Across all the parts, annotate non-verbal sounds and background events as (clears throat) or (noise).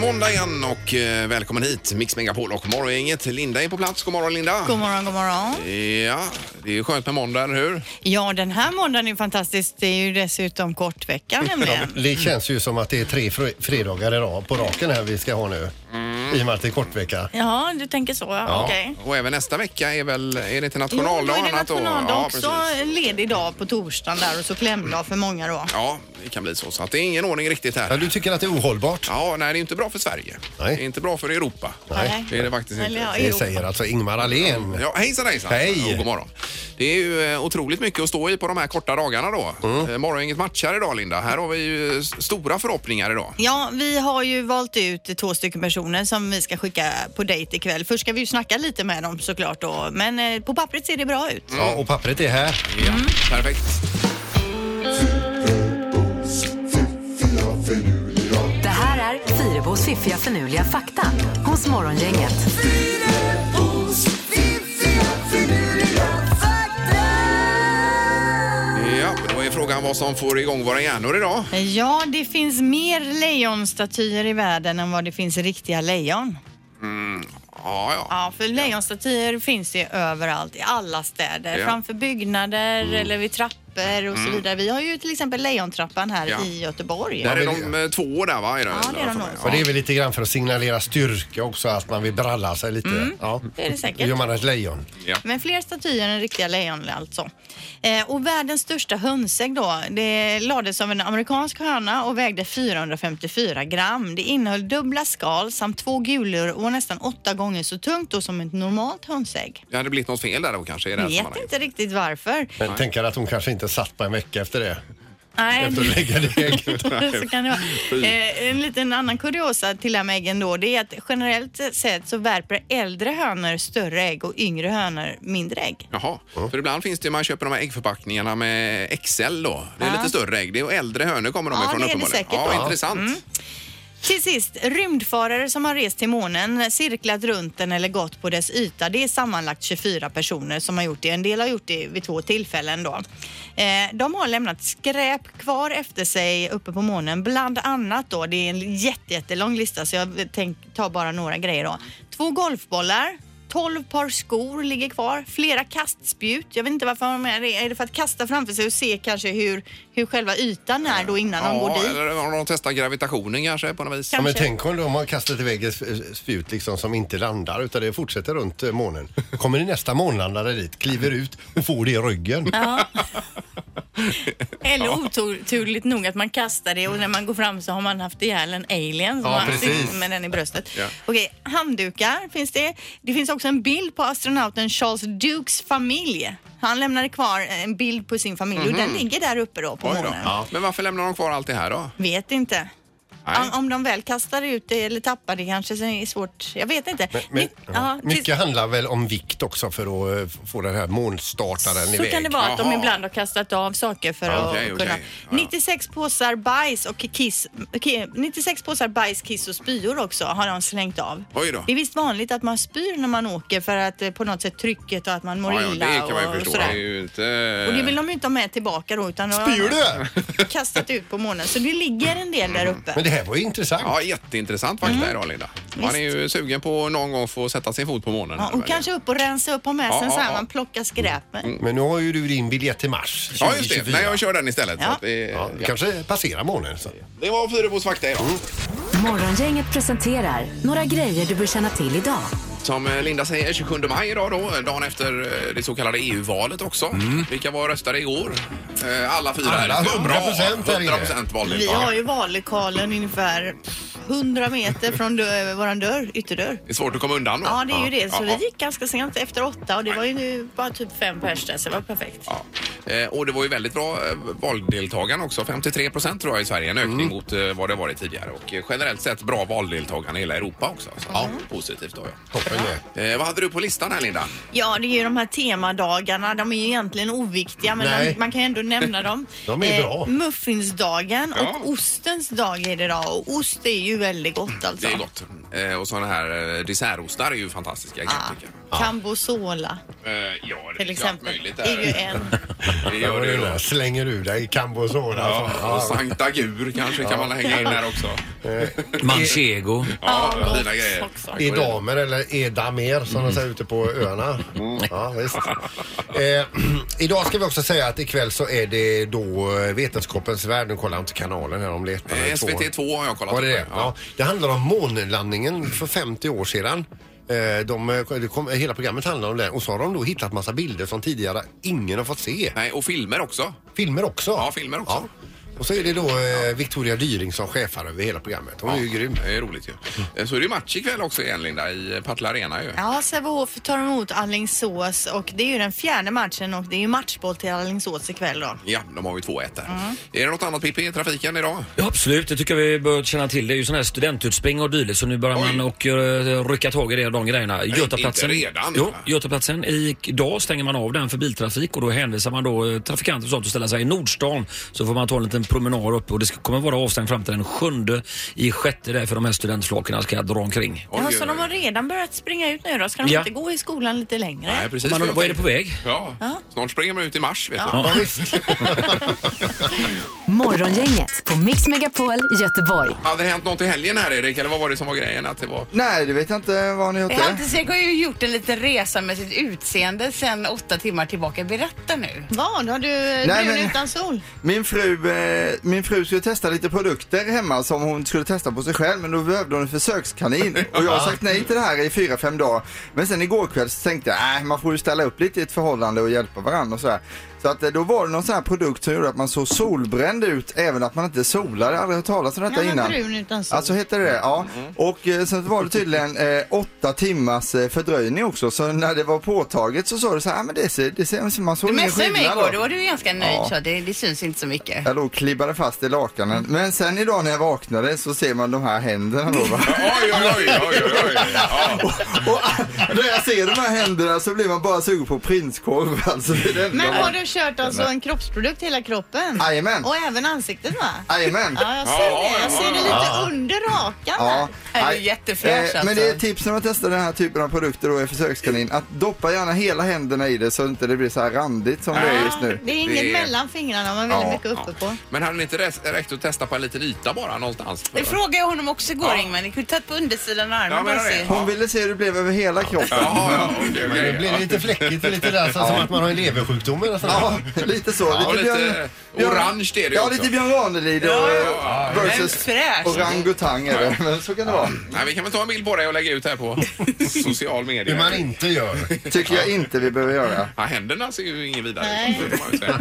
måndag igen och eh, välkommen hit Mix Megapol och Morgongänget. Linda är på plats. God morgon Linda. God morgon, god morgon. Ja, det är skönt med måndag, eller hur? Ja, den här måndagen är fantastisk. Det är ju dessutom kort vecka nämligen. Det känns ju som att det är tre fr- fredagar i rad på raken här vi ska ha nu. Mm. I och med att det är kortvecka. Ja, du tänker så. Ja. Okej. Och även nästa vecka är väl, är det till Jo, då nationaldag är det och annat då? nationaldag ja, också. precis. En ledig dag på torsdagen där och så klämdag för många då. Ja, det kan bli så. Så att det är ingen ordning riktigt Ja, här. du tycker att det är ohållbart? Ja, nej, det är inte bra för Sverige. Nej. Det är inte bra för Europa. Nej. Det är det faktiskt inte. Eller ja, Det Europa. säger alltså Ingmar Ahlén. Ja, hejsan hejsan. Hej. Och god morgon. Det är ju eh, otroligt mycket att stå i på de här korta dagarna då. Mm. Morgongänget matchar idag Linda. Här har vi ju s- stora förhoppningar idag. Ja, vi har ju valt ut två stycken personer som vi ska skicka på dejt ikväll. Först ska vi ju snacka lite med dem såklart då, men eh, på pappret ser det bra ut. Ja, och pappret är här. Ja, Mm. perfekt. Det här är Fyrabos fiffiga förnuliga fakta hos Morgongänget. Ja, då är frågan vad som får igång våra hjärnor idag. Ja, det finns mer lejonstatyer i världen än vad det finns riktiga lejon. Ja, ja. Ja, för lejonstatyer finns ju överallt i alla städer. Ja. Mm. Framför byggnader eller vid trappor och så vidare. Vi har ju till exempel Lejontrappan här Ja. i Göteborg. Där är vill de eh, två år där va? Är det, Ja, det är de nog. Och det är väl lite grann för att signalera styrka också, att man vill bralla sig lite. ja. Mm. det är det säkert. Då gör man ett lejon. Ja. Men fler statyer än riktiga lejon alltså. Eh, och världens största hönsägg då, det lades av en amerikansk höna och vägde 454 gram. Det innehöll dubbla skal samt två gulor och var nästan åtta gånger så tungt då som ett normalt hönsägg. Det hade blivit något fel där då kanske i det här Vet sammanhanget. inte riktigt varför. Men tänker att hon kanske inte satt på en vecka efter det. Nej, Efter att lägga (laughs) det ägget. så kan det vara. Eh, en liten annan kuriosa till det här med äggen då, det är att generellt sett så värper äldre hönor större ägg och yngre hönor mindre ägg. Jaha, för ibland finns det ju, man köper de här äggförpackningarna med XL då. Det är lite större ägg. Det är och äldre hönor kommer de Ja, ifrån det är det säkert Ja, då. Mm. intressant. Till sist, rymdfarare som har rest till månen, cirklat runt den eller gått på dess yta, det är sammanlagt 24 personer som har gjort det. En del har gjort det vid två tillfällen då. Eh, de har lämnat skräp kvar efter sig uppe på månen, bland annat då, det är en jätte, jättelång lista så jag tänk, tar bara några grejer då. Två golfbollar, 12 par skor ligger kvar, flera kastspjut. Jag vet inte varför man med det. Är det för att kasta framför sig och se kanske hur, hur själva ytan är då innan de går Ja, dit? eller har de testat gravitationen kanske på något vis? Ja, men Kanske. tänk om de har kastat iväg ett sp- spjut liksom som inte landar utan det fortsätter runt eh, månen. Kommer det nästa månlandare dit, kliver ut och får det i ryggen. Eller oturligt nog att man kastar det och när man går fram så har man haft ihjäl en alien som Ja, har precis. sitter med den i bröstet. Ja. Okej, handdukar finns det. Det finns också en bild på astronauten Charles Dukes familj. Han lämnade kvar en bild på sin familj och den ligger där uppe då på Oj då. månen. Ja. Men varför lämnar de kvar allt det här då? Vet inte. Nej. Om, om de väl kastar ut det eller tappar det kanske så är det svårt. Jag vet inte. Men, Ni- ja, till- mycket handlar väl om vikt också för att eh, f- få den här månstartaren Så iväg. kan det vara att de Jaha. ibland har kastat av saker för att okej, okej. kunna. Ja, ja. 96 påsar bajs och kiss. okej, 96 påsar bajs, kiss och spyor också har de slängt av. Oj då. Det är visst vanligt att man spyr när man åker för att eh, på något sätt trycket och att man mår Ja, ja, illa det kan man ju och förstå. Det är sådär. ju eh, inte... Och det vill de ju inte ha med tillbaka då utan de Spyr har (laughs) du? kastat ut på månen. Så det ligger en del där uppe. Men det här var ju intressant. Ja, jätteintressant fakta Mm. idag Linda. Man är ju sugen på någon gång få sätta sin fot på månen. Ja, här, och verkligen. kanske upp och rensa upp och med sig Ja, en sån ja, här ja. Mm, man plockar skräp med. Men nu har ju du din biljett till mars Ja, just det. 2024. Nej, jag kör den istället. Så Ja. att vi, Ja, ja. vi kanske passerar månen. Så. Det var Fyrebos fakta idag. Morgongänget presenterar några grejer du bör känna till idag. Som eh, Linda säger, 27 maj idag då, dagen efter eh, det så kallade EU-valet också. Mm. Vilka var och röstade igår? Eh, Alla fyra. Alla, här. 100% här inne. 100% valdeltagande. Vi har ju vallokalen ungefär 100 meter från dö- våran dörr, ytterdörr. Det är svårt att komma undan då. Ja, det är ju det. Så Ja, vi gick ganska sent efter åtta och det var ju bara typ fem pers där, så det var perfekt. ja. Eh, Och det var ju väldigt bra eh, valdeltagande också. 53 procent tror jag i Sverige. En ökning Mm. mot eh, vad det varit tidigare. Och eh, generellt sett bra valdeltagande i hela Europa också. Så Positivt då ja. Toppen det. Eh, vad hade du på listan här Linda? Ja, det är ju de här temadagarna. De är ju egentligen oviktiga, men Nej. man, man kan ju ändå (laughs) nämna dem. Eh, De är bra. Muffinsdagen Ja. och ostens dag är det idag. Och ost är ju väldigt gott alltså. Mm, Det är gott. Eh, Och sådana här eh, dessertostar är ju fantastiska kan jag tycka. Ja. Cambosola Eh, Ja, det Ah. till är klart exempel. möjligt. är ju en. (laughs) Det Ja, gör det det ju där. då. Slänger ur dig i Cambozola. Ja, och alltså. (laughs) Ja. Sankta Gur kanske kan man hänga in här också. Manchego. Ja, Ja, fina grejer. också. Tack för det. Edamer eller edamer som de säger ute på öarna. Mm. Ja, visst. Eh, (clears throat) idag ska vi också säga att ikväll så är det då eh, Vetenskapens värld. Nu kollar jag inte kanalen här om letar. Eh, SVT 2 har jag kollat Var det upp. det? Ja. Det handlar om månlandningen för 50 år sedan. Eh, De, eh, det kom, hela programmet handlar om det och så har de då hittat massa bilder som tidigare ingen har fått se. Nej, och filmer också. Filmer också. Ja, filmer också. Och så är det då eh, Victoria Dyring som chefar över hela programmet. Hon är ju grym. Det är roligt ju. Eh, Så är det ju match ikväll också igen Linda i eh, Partille Arena ju. Ja, Sävehof tar emot Alingsås och det är ju den fjärde matchen och det är ju matchboll till Alingsås ikväll då. Ja, de har ju 2-1 där. Mm. Är det något annat Pippi i trafiken idag? Ja, absolut, det tycker jag vi bör känna till. Det är ju sån här studentutspring och dylikt så nu börjar man och eh, rycka tag i det och de grejerna. Götaplatsen, inte redan. Jo, Götaplatsen idag stänger man av den för biltrafik och då hänvisar man då eh, trafikanter och sånt att ställa sig i Nordstan. Så får man ta en liten promenad upp och det ska, kommer vara avstängt fram till den sjunde i sjätte där för de här studentflakorna ska dra omkring. Oj, Ja, så oj, de oj. har redan börjat springa ut nu då? Ska de Ja. inte gå i skolan lite längre? Nej, precis. Man, vad jag vad är det tänkte. på väg? Ja. snart springer man ut i mars vet Ja. du. Morgongänget på Mix Megapol Göteborg. Hade det hänt något i helgen här Erik, eller vad var det som var grejen? Att det var... Nej, det vet jag inte vad ni har gjort det. Hantesek har ju gjort en liten resa med sitt utseende sen åtta timmar tillbaka. Berätta nu. Vad? Har du brun men- utan sol? Min fru, eh, min fru skulle testa lite produkter hemma som hon skulle testa på sig själv men då behövde hon en försökskanin och jag har sagt nej till det här i fyra fem dagar. Men sen igår kväll så tänkte jag, äh, man får ju ställa upp lite i ett förhållande och hjälpa varandra och sådär. Så att eh, då var det någon sån här produkt som gjorde att man såg solbränd ut även att man inte solade. Jag har aldrig hört talas om detta Ja, men innan. brun utan sol. Alltså heter det ja. Och eh, sen var det tydligen eh, åtta timmars eh, fördröjning också så när det var påtaget så sa det så här, "Ah, men det ser, det ser, man såg Du ingen messade skillnad. mig då." igår, då var du ganska nöjd Ja. så det, det syns inte så mycket. Jag låg och klibbade fast i lakanen. Men sen idag när jag vaknade så ser man de här händerna då va. Oj, oj, oj, oj, oj, oj. Ja. Och när jag ser de här händerna så blir man bara sugen på prinskorv alltså. Det är det enda Men man- har du kört alltså en kroppsprodukt hela kroppen? Jajamän. Och även ansiktet va? Jajamän. Ja, jag ser Ja, det. Jag ja, ser det ja. lite under rakan. Ja. Det är Nej. jättefräsch alltså. Men det är ett tips när man testar den här typen av produkter och är försökskanin. Att doppa gärna hela händerna i det så inte det blir så här randigt som det är just nu. Det är inget Det är- mellan fingrarna men väldigt Ja, mycket uppe på. Men hade det inte rätt- räckt att testa på en liten yta bara någonstans? Det frågade jag honom också igår Ja. Ingmar. Ni kunde tagit på undersidan av armen Ja, men bara det är se. det. Hon ville se hur det blev över hela kroppen. Ja, ja, okej, okej. Men det blir lite fläckigt och lite där, så som att man har en leversjukdom eller sånt. Ja, lite så. Ja, lite orange är det ju Ja, också. lite Björn Ranelid och eh, Ja, ja, ja. versus Men fräscht. orangutang är det. Men så kan det vara. Nej, vi kan väl ta en bild på dig och lägga ut här (laughs) på social media. Hur man inte gör. Tycker jag inte vi behöver göra. Ja, händerna ser ju inget vidare Nej. ut. får man ju säga.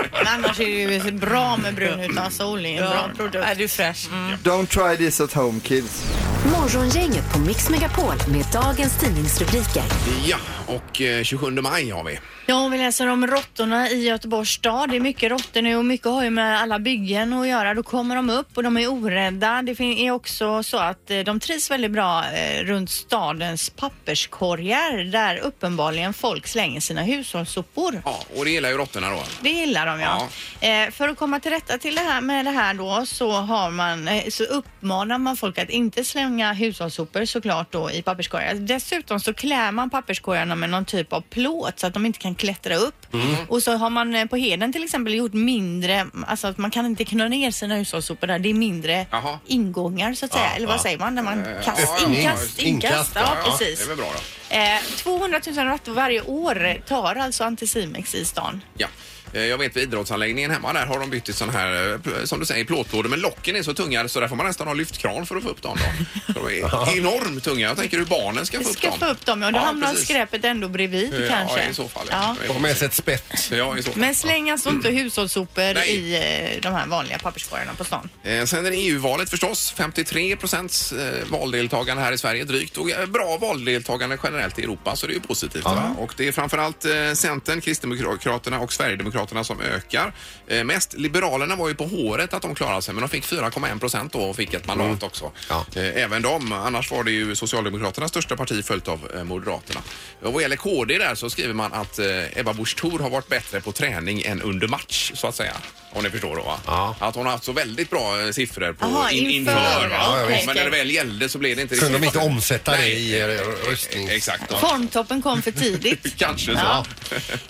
(laughs) Men annars är det ju bra med brun utan sol. Det är en bra produkt. Är du är fräsch? Don't try this at home kids. Morgongänget på Mix Megapol med dagens tidningsrubriker. Ja, och eh, 27 maj har vi. Ja, och vi läser om råttorna i Göteborgs stad. Det är mycket råttor nu och mycket har ju med alla byggen att göra. Då kommer de upp och de är orädda. Det fin- är också så att eh, de trivs väldigt bra eh, runt stadens papperskorgar där uppenbarligen folk slänger sina hushållssopor. Ja, och det gillar ju råttorna då. Det gillar de ja. Eh, för att komma till rätta till det här med det här då så, har man, eh, så uppmanar man folk att inte slänga hushållssopor såklart då i papperskorgar. Dessutom så klär man papperskorgarna med någon typ av plåt så att de inte kan klättra upp. Mm. Och så har man eh, på Heden till exempel gjort mindre, alltså att man kan inte knö ner sina hushållssopor där. Det är mindre Jaha. ingångar så att säga. Eller vad säger man? När man Eh, kast, ja, ja, ja. inkast, inkast. Inkast, Ja, Det är precis. väl bra då. Eh, 200 000 råttor varje år tar alltså Anticimex i stan. Ja. Eh, Jag vet vid idrottsanläggningen hemma där har de bytt till sån här, eh, pl- som du säger, plåtlådor. Men locken är så tunga så där får man nästan ha lyftkran för att få upp dem. Då. Så (laughs) de är enormt tunga. Jag tänker hur barnen ska få upp ska dem. få upp dem, ja. Då hamnar precis. skräpet ändå bredvid Eh, kanske. Ja, i så fall. Ja. Ja. Och med sig ett spett. Ja, i så fall. Men släng alltså inte hushållssopor Nej. i eh, de här vanliga papperskorgarna på stan. Eh, Sen är det EU-valet förstås. 53 procents eh, valdeltagande här i Sverige drygt och eh, bra valdeltagande generellt i Europa så det är ju positivt. Va? Och det är framförallt eh, Centern, Kristdemokraterna och Sverigedemokraterna som ökar. Eh, Mest Liberalerna var ju på håret att de klarade sig men de fick 4,1 procent då och fick ett mandat också. Ja. Eh, Även de. Annars var det ju Socialdemokraternas största parti följt av eh, Moderaterna. Och vad gäller KD där så skriver man att eh, Ebba Busch Thor har varit bättre på träning än under match så att säga. Om ni förstår då va? Ja. Att hon har haft så väldigt bra eh, siffror på Jaha, in, inför, inför. ja, va? ja, visst. Men när det väl gällde så blev det inte Kunde de riktigt- inte omsätta det Nej. i eh, röstning? Exakt. ja. Formtoppen kom för (laughs) tidigt. Kanske så. Ja.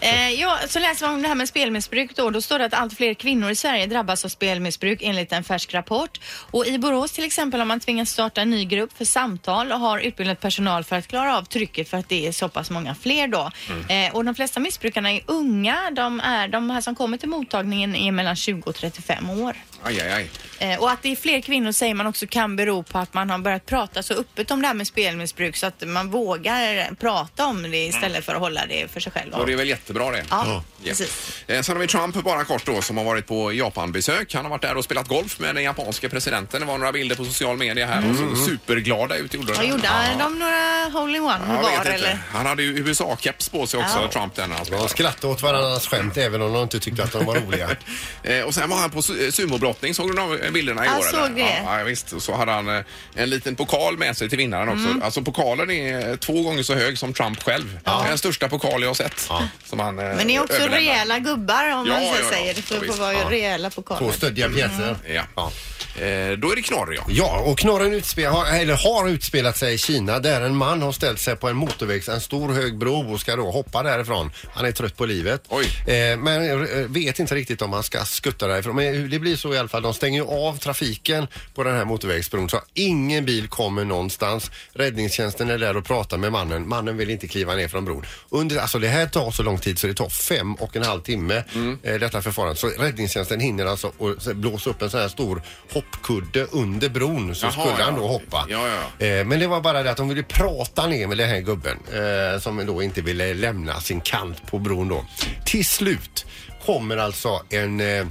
Eh, ja, så läser man om det här med spelmissbruk då. Då står det att allt fler kvinnor i Sverige drabbas av spelmissbruk enligt en färsk rapport. Och i Borås till exempel har man tvingats starta en ny grupp för samtal och har utbildat personal för att klara av trycket för att det är så pass många fler då. Mm. Eh, och de flesta missbrukarna är unga. De, är, de här som kommer till mottagningen är mellan 20 och 35 år. Aj, aj, aj. Eh, och att det är fler kvinnor säger man också kan bero på att man har börjat prata så öppet om det här med spelmissbruk så att man vågar prata om det istället för att hålla det för sig själv. Och det är väl jättebra det. Ja, Ja. precis. Eh, Sen har vi Trump bara kort då som har varit på Japanbesök. Han har varit där och spelat golf med den japanske presidenten. Det var några bilder på social media här. Mm. Och så superglada ut gjorde Ja, de. gjorde de några hole-in-one Jag var vet inte. eller? Han hade ju USA-keps på sig också, Ja. Trump, där när han De spelade. skrattade åt varandras skämt även om de inte tyckte att de var roliga. Eh, Och sen var han på su- eh, sumobrottning, såg du de bilderna igår? Jag såg eller? det. Ja, ja, visst. Och så hade han eh, en liten pokal med sig till vinnaren också. Mm. Alltså pokalen är eh, två gånger så hög som Trump själv. Det är den största pokal jag har sett. Som han, eh, Men det är också rejäla gubbar om Ja, man så ja, ja. säger. Det får Ja, visst. vara Ja. rejäla Två pokaler. stöddiga pjäser. Ja. Ja. Eh, Då är det knorr, ja. Ja, och knorren utspel, har, eller har utspelat sig i Kina där en man har ställt sig på en motorvägs, en stor hög bro och ska då hoppa därifrån. Han är trött på livet. Oj. Eh, men eh, vet inte riktigt om han ska skutta därifrån. Men hur det blir så i alla fall. De stänger ju av trafiken på den här motorvägsbron så ingen bil kommer någonstans. Räddningstjänsten är där och pratar med mannen. Mannen vill inte kliva ner från bron. Under, alltså det här tar så lång tid så det tar fem och en halv timme Mm. eh, detta förfarande. Så räddningstjänsten hinner alltså och s- blåsa upp en sån här stor hoppkudde under bron så Jaha, skulle han ja. då hoppa. Ja, ja, ja. Eh, Men det var bara det att de ville prata ner med den här gubben eh, som då inte ville lämna sin kant på bron då. Till slut kommer alltså en eh,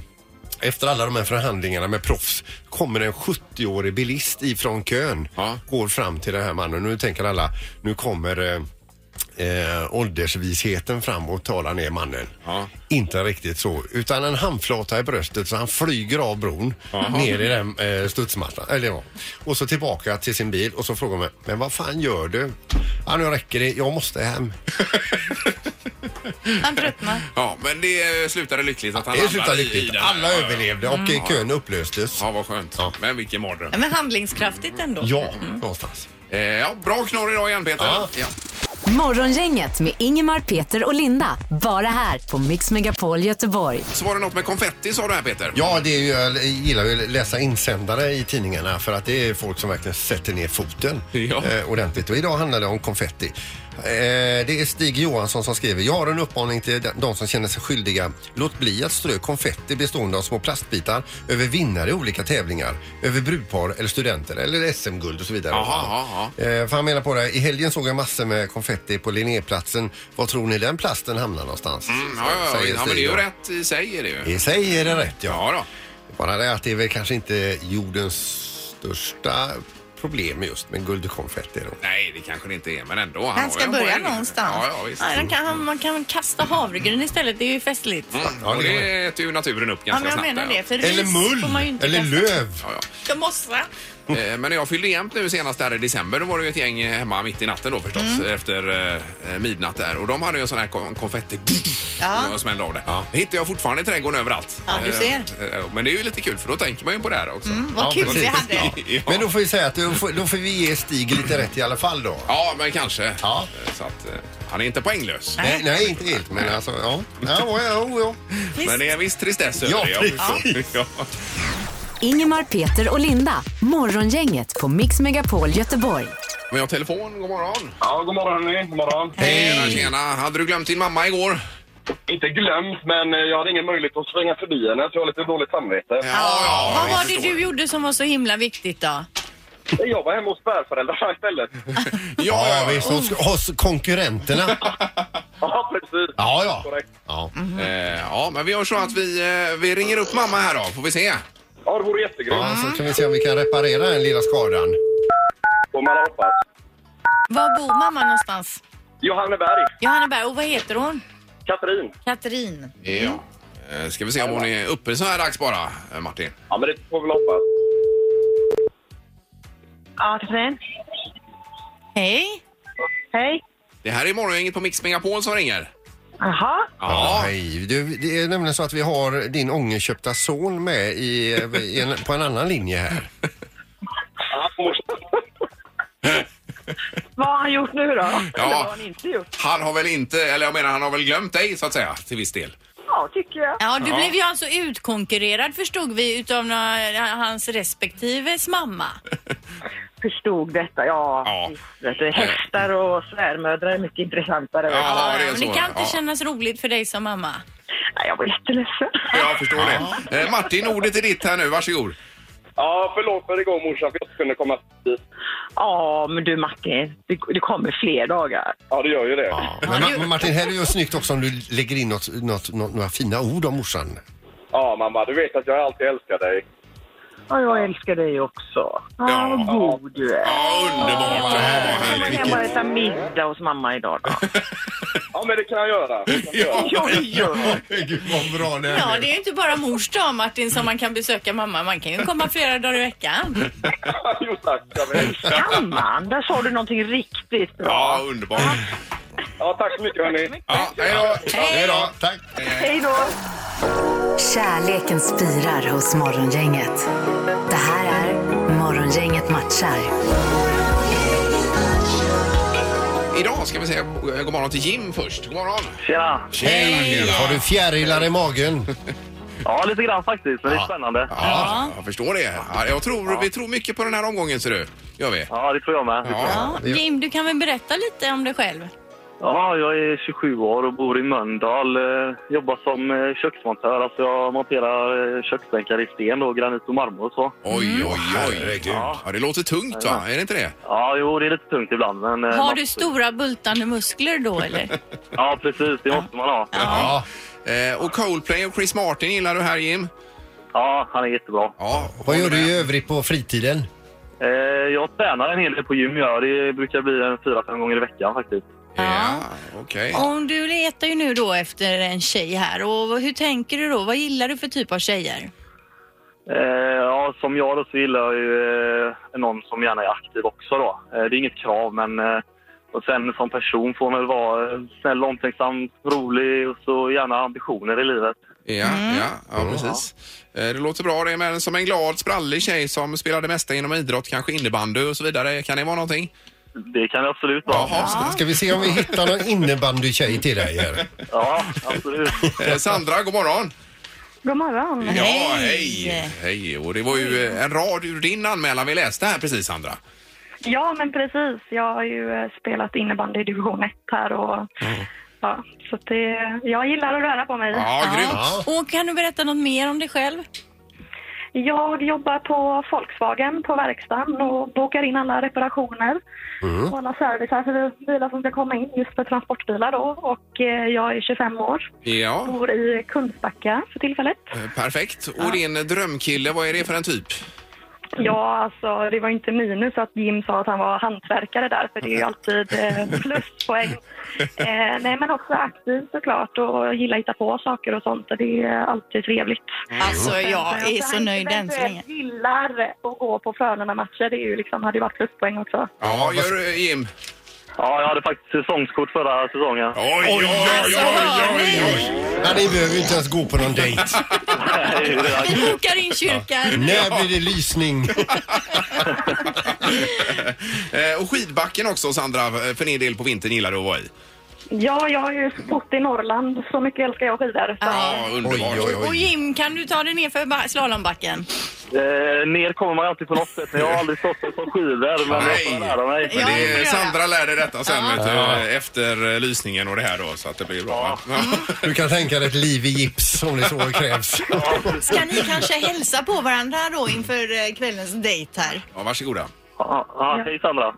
efter alla de här förhandlingarna med proffs kommer en 70-årig bilist ifrån kön. Ja. Går fram till den här mannen. Nu tänker alla, nu kommer eh, eh, åldersvisheten fram och talar ner mannen. Ja. Inte riktigt så, utan en handflata i bröstet så han flyger av bron ner i den eh, studsmattan. Eller ja. Och så tillbaka till sin bil och så frågar man, men vad fan gör du? Ja, nu räcker det, jag måste hem. Han tröttnar. Ja, men det eh, slutade lyckligt att han Det landade slutade i- i lyckligt. den här. Alla Ja, ja. överlevde och eh, kön upplöstes. Ja, vad skönt. Ja. Men vilken mardröm. Men handlingskraftigt ändå. Ja, någonstans. Eh, ja, bra knorr idag igen, Peter. Ja. Ja. Morgongänget med Ingemar, Peter och Linda. Bara här på Mix Megapol Göteborg. Så var det något med konfetti, sa du här, Peter. Ja, det är ju, jag gillar ju att läsa insändare i tidningarna för att det är folk som verkligen sätter ner foten Ja. eh, ordentligt. Och idag handlar det om konfetti. Eh, det är Stig Johansson som skriver. Jag har en uppmaning till de- de som känner sig skyldiga. Låt bli att strö konfetti bestående av små plastbitar över vinnare i olika tävlingar, över brudpar eller studenter eller SM-guld och så vidare. Jaha, jaha. Eh, för han menar på det, här, i helgen såg jag massor med konfetti på Linnéplatsen. Var tror ni den plasten hamnar någonstans? Mm, ja, ja, ja, Säger ja, men det är Stig ju då. rätt i sig. Är det ju. I sig är det rätt, ja. Ja, då. Bara det att det är väl kanske inte jordens största problem just med guldkonfetti då. Nej, det kanske det inte är, men ändå. har Han ska ju en börja poäng. någonstans. Ja, ja, visst. Ja, den kan, han- man kan väl kasta havregryn istället, det är ju festligt. Mm, och det äter ju naturen upp Ja, ganska men jag snabbt. menar där, det. För Eller ris får man ju mull! inte Eller kasta. löv! Ja, ja. Ska mossa. Eh, Men när jag fyllde jämnt nu senast där i december, då var det ju ett gäng eh, hemma mitt i natten då förstås, Mm. efter eh, midnatt där. Och de hade ju en sån här kon- konfetti Ja. som jag smällde av det. Det hittar jag fortfarande i trädgården överallt. Ja, du ser. Mm. Eh, eh, Men det är ju lite kul för då tänker man ju på det här också. Vad kul vi precis. hade. (laughs) Ja. Men då får vi säga att då får, då får vi ge Stig lite rätt i alla fall då. Ja, men kanske. Ja. Eh, Så att, eh, han är inte poänglös. Nej, nej inte helt men alltså ja. Ja, ja, ja, ja. Men det är en viss tristess över Ja, det. precis. (laughs) Ja. Ingemar, Peter och Linda. Morgongänget på Mix Megapol Göteborg. Men jag har telefon. God morgon. Ja, god morgon hörni. God morgon. Tjena, tjena. Hade du glömt din mamma igår? Inte glömt, men eh, jag hade ingen möjlighet att svänga förbi henne så jag har lite dåligt samvete. ja, Vad jag var det förstår. du gjorde som var så himla viktigt då? Jag var hemma hos svärföräldrarna istället. Ja, ja ja, visst, hos, hos konkurrenterna. Ja, precis. Ja, ja. Korrekt. ja. Eh, ja, men vi gör så att vi, eh, vi ringer upp mamma här då, får vi se. Ja, det vore jättegrymt. ja så kan vi se om vi kan reparera den lilla skadan. Får man hoppas. Var bor mamma någonstans? Johanneberg. Johanneberg. Och vad heter hon? Katrin. Katrin. Ja. Eh, Ska vi se om hon är uppe så här dags bara, eh, Martin. Ja, men det får vi väl hoppas. Ja, Katrin. Hej. Hej. Det här är morgongänget på Mix Megapol som ringer. Jaha, Ja. Hej. Du, det är nämligen så att vi har din ångerköpta son med i, i en, på en annan linje här. vad har han gjort nu då? Eller vad Ja. har han inte gjort? Han har väl inte, eller jag menar han har väl glömt dig så att säga till viss del. Ja, tycker jag. Ja, du blev ju alltså utkonkurrerad förstod vi utav nå- hans respektives mamma. Förstod detta, ja. Ja. Eh. visst, vet du. Hästar och svärmödrar är mycket intressantare. vet du. Ja, det är men så. det kan inte ja. kännas roligt för dig som mamma. Nej, Jag var jätteledsen. Jag förstår det. Eh, Martin, ordet är ditt här nu. Varsågod. (laughs) Ja, förlåt för igår morsan för jag inte kunde komma hit. Ja, men du Macke, det, det kommer fler dagar. Ja, det gör ju det. Men Ma- Martin, här är ju snyggt också om du lägger in något, något, något, några fina ord om morsan. Ja, mamma, du vet att jag alltid älskar dig. Ja, jag älskar dig också. Ja, Ja. vad god du är. Ja, underbart. Ja, vad Kan man härligt. hem och äta middag hos mamma idag då? Ja, men det kan jag göra. Det kan jag göra. Ja, ja, gud vad bra det Ja, är. det är ju inte bara mors dag Martin som man kan besöka mamma. Man kan ju komma flera dagar i veckan. (laughs) Jo, tack. Jag vet. Mm. Kan man? Där sa du någonting riktigt bra. Ja, underbart. Ja, tack så mycket, hörni. Ja, hej då. Hej då. Tack. Hej då! Kärleken spirar hos Morgongänget. Det här är Morgongänget matchar. Idag ska vi säga eh, god morgon till Jim först. God morgon. Tjena. Hej! Har du fjärilar i magen? Ja, lite grann faktiskt, men det är spännande. Ja, jag förstår det. Ja, jag tror, Vi tror mycket på den här omgången, ser du. Gör vi. Ja, det tror jag med. (laughs) Ja. Ja, Jim, du kan väl berätta lite om dig själv? Ja, jag är 27 år och bor i Mölndal. Eh, Jobbar som eh, köksmontör. Alltså jag monterar eh, köksbänkar i sten, då, granit och marmor och så. Oj, oj, oj. Herregud. Ja, det låter tungt, va? Är det inte det? Ja, jo, det är lite tungt ibland. Men, eh, Har man- du stora bultande muskler då eller? Ja, precis. Det måste man ha. Ja. Eh, och Coldplay och Chris Martin gillar du här, Jim? Ja, han är jättebra. Ja. Vad gör du i övrigt på fritiden? Eh, Jag tränar en hel del på gym. Jag. Det brukar bli en fyra, fem gånger i veckan faktiskt. Ja, okej. Om du letar ju nu då efter en tjej här och hur tänker du då? Vad gillar du för typ av tjejer? Eh, Ja, som jag då så gillar jag ju eh, någon som gärna är aktiv också då. Eh, Det är inget krav, men eh, och sen som person får man väl vara eh, snäll, omtänksam, rolig och så gärna ambitioner i livet. Ja, ja, ja, precis. Eh, Det låter bra det, men som en glad, sprallig tjej som spelar det mesta inom idrott, kanske innebandy och så vidare. Kan det vara någonting? Det kan det absolut vara. Jaha. Ska vi se om vi hittar någon innebandytjej till dig här? Ja, absolut. Eh, Sandra, god morgon. God morgon! Ja, hej! Hej! Och det var ju eh, en rad ur din anmälan vi läste här precis, Sandra. (laughs) Ja, men precis. Jag har ju eh, spelat innebandy i division 1 här och ja, så att det, jag gillar att röra på mig. Ja, grymt. Ja. Och kan du berätta något mer om dig själv? Jag jobbar på Volkswagen på verkstaden och bokar in alla reparationer och alla servicer för bilar som ska komma in just för transportbilar då. Och eh, jag är 25 år, Ja, bor i Kungsbacka för tillfället. eh, perfekt. Och din drömkille, vad är det för en typ? Mm. Ja, alltså det var inte minus att Jim sa att han var hantverkare där, för det är ju alltid eh, (laughs) pluspoäng. Eh, nej, men också aktiv såklart och gillar att hitta på saker och sånt. och Det är alltid trevligt. Alltså jag är så nöjd än så länge. Eventuellt gillar att gå på Frölunda-matcher, det är ju liksom, hade ju varit pluspoäng också. Ja, gör du, eh, Jim? Ja, jag hade faktiskt säsongskort (laughs) förra säsongen. (laughs) Oj, oj, oj, oj, oj, oj. Ja, ni behöver ju inte ens gå på någon dejt. Vi bokar in kyrkan. När blir det lysning? (laughs) Eh, Och skidbacken också, Sandra, eh, för din del på vintern gillar du att vara i. Ja, jag har ju bott i Norrland, så mycket älskar jag skidor. Så. Ja, underbart. Oj, oj, oj. Och Jim, kan du ta dig ner för ba- slalombacken? Eh, ner kommer man alltid på något sätt, men jag har aldrig stått på skidor. Men jag Nej. får lära mig. Men det Ja, det får är, jag Sandra lärde detta sen vet du, efter eh, lysningen och det här då så att det blir bra. va? Du kan tänka dig ett liv i gips om det så krävs. Ska ni kanske hälsa på varandra då inför eh, kvällens dejt här? Ja, varsågoda. Ja, ja, hej Sandra.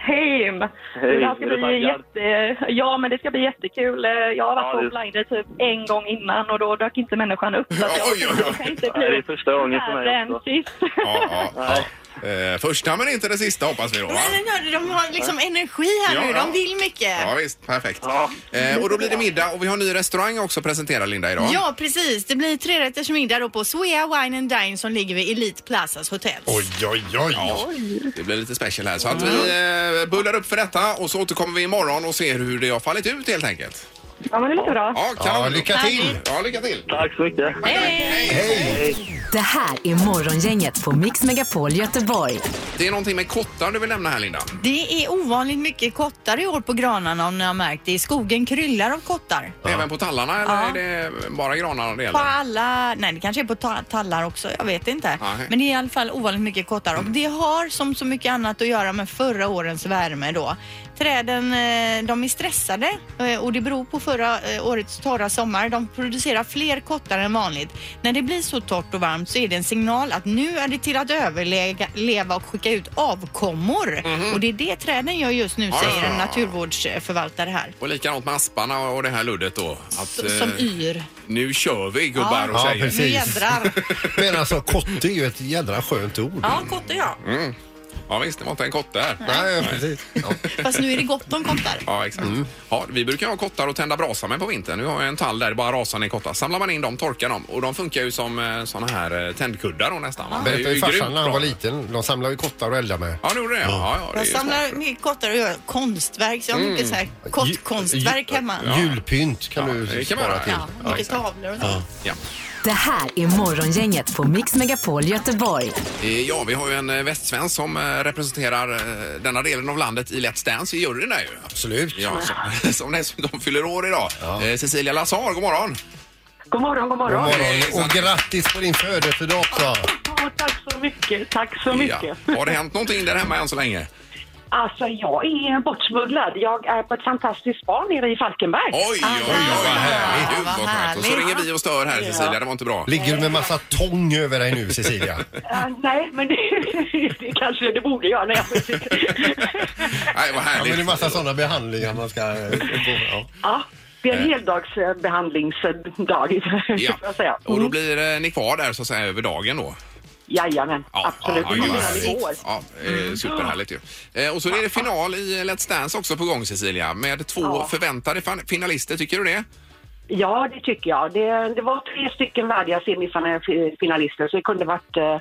Hej Jim! Hej, det här ska är du bli taggad? jätte... Ja, men det ska bli jättekul. Eh, Jag har Ja, varit det- på blinder typ en gång innan och då dök inte människan upp. (laughs) Så att jag, typ, Oj, oj, oj. jag kan inte Nej, det bli är första gången för värre mig än också. sist. Ja, ja, ja. Eh, Första men inte den sista hoppas vi då. Va? Men hörde, de har liksom energi här Ja, nu. ja. De vill mycket. Ja visst, perfekt. Ja. Eh, Och då blir det middag och vi har en ny restaurang också att presentera Linda idag. Ja, precis. Det blir trerätters middag då på Svea Wine and Dine som ligger vid Elite Plazas hotell. Oj, oj, oj. Det blir lite special här så att vi eh, bullar upp för detta och så återkommer vi imorgon och ser hur det har fallit ut helt enkelt. Ja, men det låter bra. Ja, kanon. Ja, lycka till! Ja, lycka till. Tack så mycket. Det här är Morgongänget på Mix Megapol Göteborg. Det är någonting med kottar du vill nämna här, Linda. Det är ovanligt mycket kottar i år på granarna om ni har märkt det. Skogen kryllar av kottar. Även på tallarna eller Ja. är det bara granar det På gäller? alla, nej det kanske är på ta- tallar också, jag vet inte. Nej. Men det är i alla fall ovanligt mycket kottar och det har som så mycket annat att göra med förra årens värme då. Träden, eh, de är stressade eh, och det beror på förra eh, årets torra sommar. De producerar fler kottar än vanligt. När det blir så torrt och varmt så är det en signal att nu är det till att överleva och skicka ut avkommor. Och det är det träden gör just nu, Ja, ja, säger en ja. naturvårdsförvaltare här. Och likadant med asparna och det här luddet då. Att, Som eh, yr. nu kör vi gubbar Ja. och Ja, tjejer. precis. Nu jädrar. Men alltså kotte är ju ett jädra skönt ord. Ja, kottar ja. Ja, visst, det var inte en kotte här. Nej, precis. Ja. Fast nu är det gott om kottar. Ja, exakt. Ja, vi brukar ha kottar och tända brasa med på vintern. Nu har jag en tall där det bara rasar ner kottar. Samlar man in dem, torkar dem och de funkar ju som eh, såna här eh, tändkuddar då, nästan. va? Det är Berättade ju grymt farsan när han bra. var liten. De samlade ju kottar och eldade med. Ja, nu gjorde det. Ja, ja, det är Jag ju smart. samlar mycket kottar och gör konstverk. Så jag har mycket så här kottkonstverk Mm. Ju- hemma. ju- Julpynt kan Ja, du det kan man spara göra. till. Ja, mycket tavlor och sånt. Ja. Det här är Morgongänget på Mix Megapol Göteborg. Eh, ja, vi har ju en eh, västsvensk som eh, representerar eh, denna delen av landet i Let's Dance i juryn där ju. Absolut. Ja, (laughs) som, som dessutom fyller år idag. Eh, Cecilia Lazar, god morgon! God morgon, God god morgon. morgon och grattis på din födelsedag också. Ja, tack så mycket. Tack så mycket. Har det hänt någonting där hemma än så länge? Alltså, jag är bortsmugglad. Jag är på ett fantastiskt spa nere i Falkenberg. Oj, oj, oj, vad härligt! Gud, vad skönt. Och så härligt. ringer vi och stör här, Cecilia. Det var inte bra. Ligger du med massa tång över dig nu Cecilia? Eh, nej, men det, (laughs) det kanske det borde jag. Nej, jag vet inte. (laughs) Nej, vad Ja, men det är härligt. massa sådana behandlingar man ska eh, gå. Ja. (laughs) ja, det är en heldagsbehandlingsdag, (laughs) får jag säga. Och då blir eh, ni kvar där så att säga över dagen då? Jajamän, absolut. Ja, Det kom ja, redan ja. igår. Ja, eh, superhärligt ju. Eh, Och så är det final i Let's Dance också på gång Cecilia med två förväntade fan- finalister, tycker du det? Ja, det tycker jag. Det, det var tre stycken värdiga semifinalister, så det kunde varit... eh,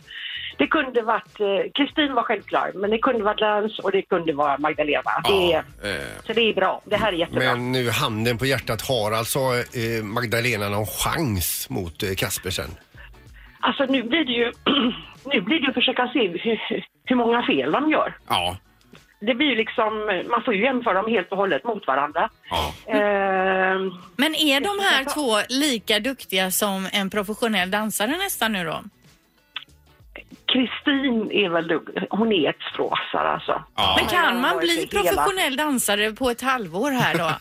Det kunde varit... eh, Kristin var självklar, men det kunde varit Lance och det kunde vara Magdalena. Det, är- eh, Så det är bra. Det här är jättebra. Men nu handen på hjärtat, har alltså eh, Magdalena någon chans mot eh, Kaspersen? Alltså, nu blir det ju... (clears throat) nu blir det ju att försöka se hur, hur många fel de gör. Ja. Det blir ju liksom... Man får ju jämföra dem helt och hållet mot varandra. ja. Eh, Men är de här två lika duktiga som en professionell dansare nästan nu då? Kristin är väl... dug- Hon är ett stråsare, alltså. Ja. Men kan Ja, man det är bli så elakt. professionell dansare på ett halvår här (laughs) då?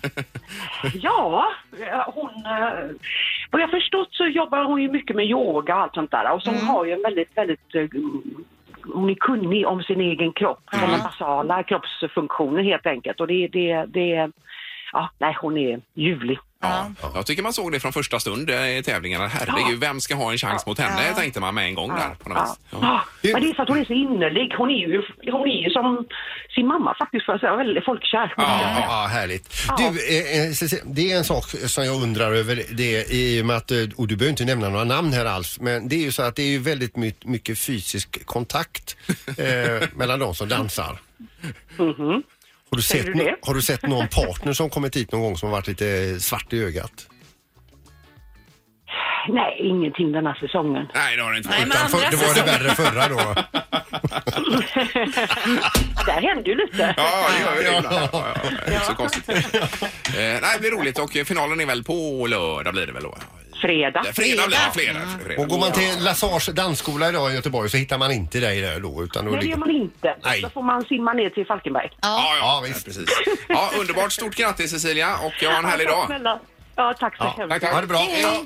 Ja, eh, hon... eh, Vad jag förstått så jobbar hon ju mycket med yoga och allt sånt där. Och så hon har ju en väldigt, väldigt... eh, Hon är kunnig om sin egen kropp. Om den basala kroppsfunktionen helt enkelt. Och det... det, det ja, nej, hon är ljuvlig. Ja. Jag tycker man såg det från första stund eh, i tävlingarna. Herregud, vem ska ha en chans mot henne? tänkte man med en gång där på något vis. Ja. Ja. Ah, Men det är för att hon är så innerlig. Hon är ju, hon är ju som sin mamma faktiskt, får jag säga. Väldigt folkkär. Ja, ja, härligt. Du, eh, eh, Cecilia, det är en sak som jag undrar över det i och med att, eh, och du behöver inte nämna några namn här alls, men det är ju så att det är ju väldigt my- mycket fysisk kontakt (laughs) eh, mellan de som dansar. Har, du Mm-hmm. Säger sett du nå- det? har du sett någon partner som kommit hit någon gång som har varit lite svart i ögat? Nej, ingenting den här (laughs) säsongen. Nej, det har det inte. Nej, varit. men För, andra det var det säsongen. värre förra då. Där hände ju lite. Ja, det gör ju det ibland. Ja, ja, ja. Det är inte så konstigt. Eh, Nej, det blir roligt och eh, finalen är väl på lördag blir det väl då? Eh, Fredag. Fredag blir det. Mm. Fredag. fredag. Och går man till Lazars dansskola idag i Göteborg så hittar man inte dig där då utan då Nej, det gör man inte. Nej. Då får man simma ner till Falkenberg. Ja, ja, Ja, visst. precis. Ja, underbart. Stort grattis Cecilia och ha en härlig Tack dag. snälla. Ja, tack så hemskt tack, mycket. tack. Ha det bra. Hej,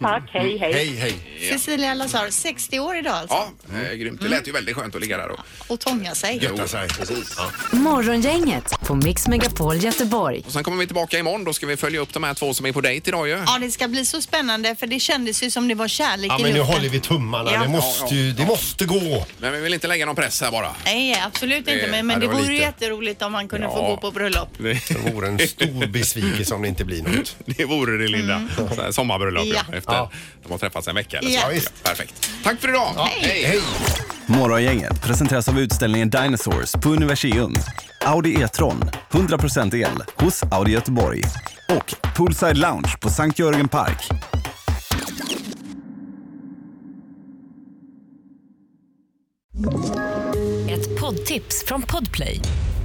Tack, Mm, hej, hej. hej. hej. Cecilia Lazar, 60 år idag alltså. Ja, eh, grymt. Det lät ju väldigt skönt att ligga där och Och tånga sig. Götta sig. Precis. Ja. Morgongänget på Mix Megapol Göteborg. Och sen kommer vi tillbaka imorgon. Då ska vi följa upp de här två som är på dejt idag ju. Ja, det ska bli så spännande för det kändes ju som det var kärlek Ja i men nu luften. håller vi tummarna. Ja. Det måste ju, det måste gå. Men vi vill inte lägga någon press här bara. Nej, absolut inte. Eh, Men, men det det var vore ju lite. jätteroligt om man kunde få Ja. gå på bröllop. Det vore en stor besvikelse om det inte blir något. Det vore det Linda. Så här Sommarbröllop ja. Mm. Ja. efter Ja. de har träffats en vecka eller så. Ja. Ja, visst. Perfekt. Tack för idag. Hej. Hej! Morgongänget presenteras av utställningen Dinosaurs på Universium. Audi E-tron, 100% el, hos Audi Göteborg. och Poolside Lounge på Sankt Jörgen Park. Ett poddtips från Podplay.